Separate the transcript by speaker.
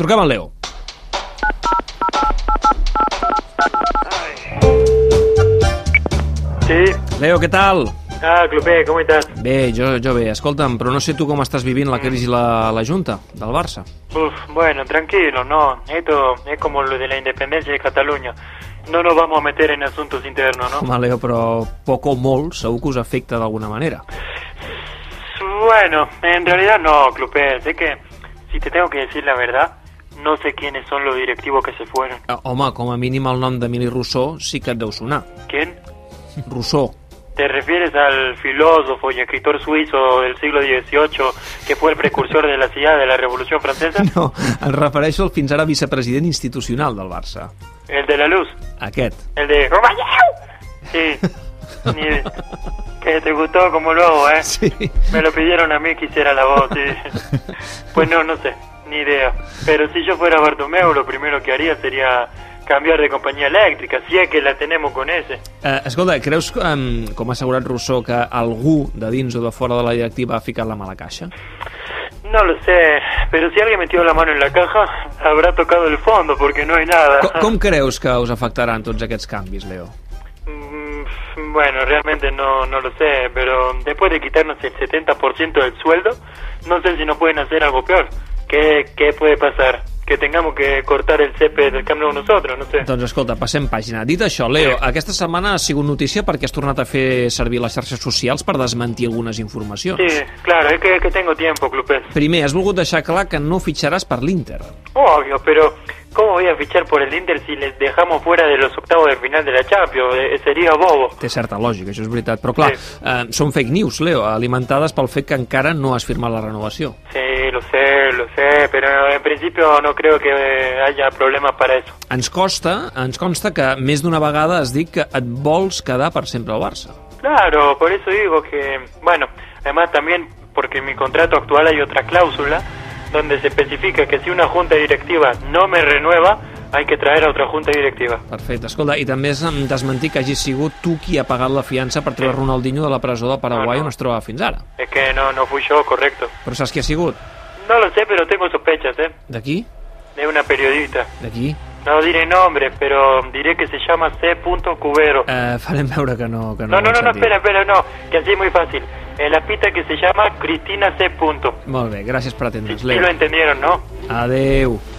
Speaker 1: Truquem al Leo.
Speaker 2: Sí,
Speaker 1: Leo, què tal?
Speaker 2: ah, Clopé, com estàs?
Speaker 1: Bé, jo, jo bé. Escolta'm, però no sé tu com estàs vivint la crisi la, la Junta del Barça.
Speaker 2: Uf, bueno, tranquilo, no, esto es como lo de la independencia de Cataluña. No nos vamos a meter en asuntos internos, ¿no?
Speaker 1: Home, Leo, però poc o molt segur que us afecta d'alguna manera.
Speaker 2: Bueno, en realidad no, Clopé, sé que, si te tengo que decir la verdad, no sé quiénes son los directivos que se fueron.
Speaker 1: Eh, Home, com a mínim el nom d'Emili Rousseau sí que et deu sonar.
Speaker 2: ¿Quién?
Speaker 1: Rousseau.
Speaker 2: ¿Te refieres al filósofo y escritor suizo del siglo XVIII que fue el precursor de la ciudad de la Revolución Francesa?
Speaker 1: No, em refereixo al fins ara vicepresident institucional del Barça.
Speaker 2: ¿El de la luz?
Speaker 1: Aquest.
Speaker 2: ¿El de... Sí. Ni- Que te gustó como lobo, ¿eh?
Speaker 1: Sí.
Speaker 2: Me lo pidieron a mí que hiciera la voz. sí. Pues no, no sé, ni idea. Pero si yo fuera Bartomeu, lo primero que haría sería cambiar de compañía eléctrica, si es que la tenemos con ese.
Speaker 1: Eh, escolta, creus, um, com ha assegurat Rousseau, que algú de dins o de fora de la directiva ha ficat la mala caixa?
Speaker 2: No lo sé, pero si alguien metió la mano en la caja, habrá tocado el fondo porque no hay nada.
Speaker 1: Com, com creus que us afectaran tots aquests canvis, Leo?
Speaker 2: Mm, Bueno, realmente no, no lo sé, pero después de quitarnos el 70% del sueldo, no sé si nos pueden hacer algo peor. ¿Qué, qué puede pasar? Que tengamos que cortar el césped del Camp Nou nosotros, no sé.
Speaker 1: Doncs escolta, passem pàgina. Dit això, Leo, aquesta setmana ha sigut notícia perquè has tornat a fer servir les xarxes socials per desmentir algunes informacions.
Speaker 2: Sí, claro, es que, es que tengo tiempo, Clupés.
Speaker 1: Primer, has volgut deixar clar que no fitxaràs per l'Inter.
Speaker 2: Obvio, pero ¿cómo voy a fichar por el Inter si les dejamos fuera de los octavos de final de la Champions? Eh, sería bobo.
Speaker 1: Té certa lògica, això és veritat. Però clar,
Speaker 2: Sí.
Speaker 1: eh, són fake news, Leo, alimentades pel fet que encara no has firmat la renovació.
Speaker 2: Sí, lo sé, lo sé, pero en principio no creo que eh, haya problemas para eso.
Speaker 1: Ens costa, ens consta que més d'una vegada has dit que et vols quedar per sempre al Barça.
Speaker 2: Claro, por eso digo que, bueno, además también porque en mi contrato actual hay otra cláusula donde se especifica que si una junta directiva no me renueva, hay que traer a otra junta directiva.
Speaker 1: Perfecte, escolta, i també és em, desmentir que hagi sigut tu qui ha pagat la fiança per treure Ronaldinho de la presó de Paraguai
Speaker 2: No, no.
Speaker 1: on es troba fins ara.
Speaker 2: Es que no, no fui yo, correcto.
Speaker 1: Però saps qui ha sigut?
Speaker 2: No lo sé, pero tengo sospechas, ¿eh?
Speaker 1: D'aquí?
Speaker 2: De una periodista.
Speaker 1: D'aquí?
Speaker 2: No diré nombres, pero diré que se llama C. Cubero.
Speaker 1: Eh, farem veure que no... Que
Speaker 2: Ah, No,
Speaker 1: no,
Speaker 2: no,
Speaker 1: ho
Speaker 2: no,
Speaker 1: hem
Speaker 2: no,
Speaker 1: sentit.
Speaker 2: espera, espera, no, que así es muy fácil. Eh, la pista que se llama Cristina C.
Speaker 1: Molt bé, gràcies per
Speaker 2: Si
Speaker 1: atendre'ns,
Speaker 2: lo
Speaker 1: Leo.
Speaker 2: entendieron, ¿no?
Speaker 1: Adeu.